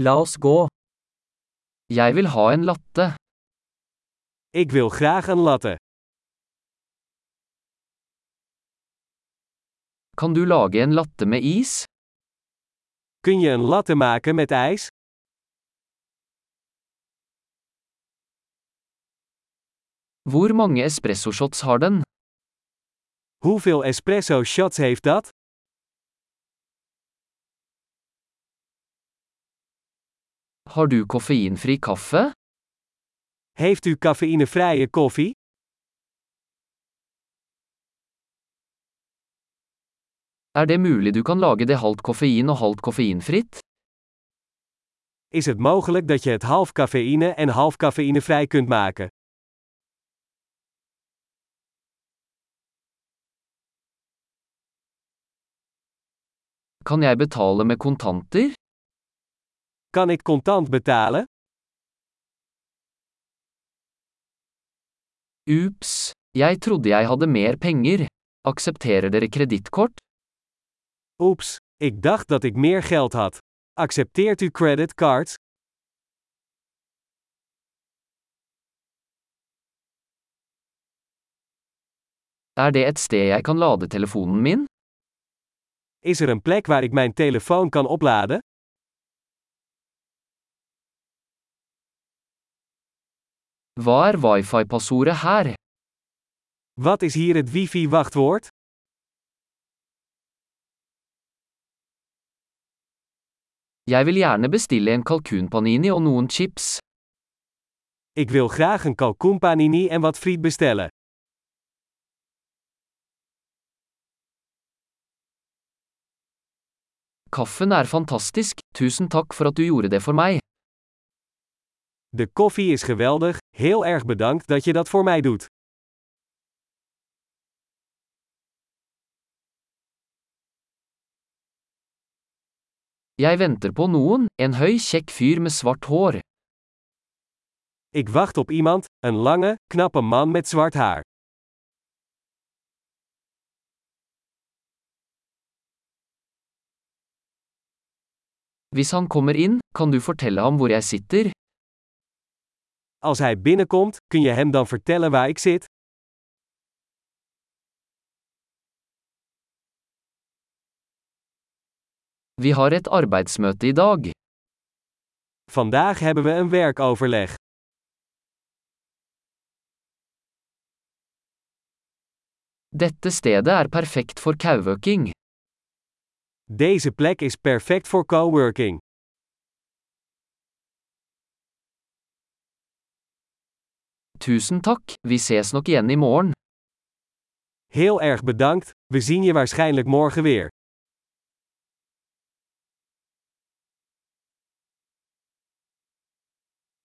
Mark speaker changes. Speaker 1: La oss gå. Jeg vil ha en latte.
Speaker 2: Ik wil graag een latte.
Speaker 1: Kan du lage en latte med is?
Speaker 2: Kun je een latte maken met ijs?
Speaker 1: Hvor mange espressoshots har den?
Speaker 2: Hoeveel espresso shots heeft dat?
Speaker 1: Har du koffeinfri kaffe?
Speaker 2: Heeft u cafeïnevrije koffie?
Speaker 1: Er det mulig du kan lage det halvt koffein og halvt koffeinfritt?
Speaker 2: Is het mogelijk dat je het half cafeïne en half cafeïnevrij kunt maken?
Speaker 1: Kan jeg betale med kontanter?
Speaker 2: Kan ik contant betalen?
Speaker 1: Ups, jeg trodde jeg hadde mer penger. Aksepterer dere kredittkort?
Speaker 2: Oeps, ik dacht dat ik meer geld had. Accepteert u creditcards?
Speaker 1: Er det et sted jeg kan lade telefonen min?
Speaker 2: Is er een plek waar ik mijn telefoon kan opladen?
Speaker 1: Hva er wifi-passordet her?
Speaker 2: Wat is hier het wifi-wachtwoord?
Speaker 1: Jeg vil gjerne bestille en kalkunpanini og noen chips.
Speaker 2: Ik wil graag een kalkoenpanini en wat friet bestellen.
Speaker 1: Kaffen er fantastisk, tusen takk for at du gjorde det for meg.
Speaker 2: De koffie is geweldig, heel erg bedankt dat je dat voor mij doet.
Speaker 1: Jeg venter på noen, en høy, kjekk fyr med svart hår.
Speaker 2: Ik wacht op iemand, een lange, knappe man met zwart haar.
Speaker 1: Hvis han kommer inn, kan du fortelle ham hvor jeg sitter?
Speaker 2: Als hij binnenkomt, kun je hem dan vertellen waar ik zit?
Speaker 1: Vi har et arbeidsmøte i dag.
Speaker 2: Vandaag hebben we een werkoverleg.
Speaker 1: Dette stedet er perfekt for kauøking.
Speaker 2: Deze plek is perfect voor coworking.
Speaker 1: Tusen takk, vi ses nok igjen i morgen.
Speaker 2: Heel erg bedankt, we zien je waarschijnlijk morgen weer.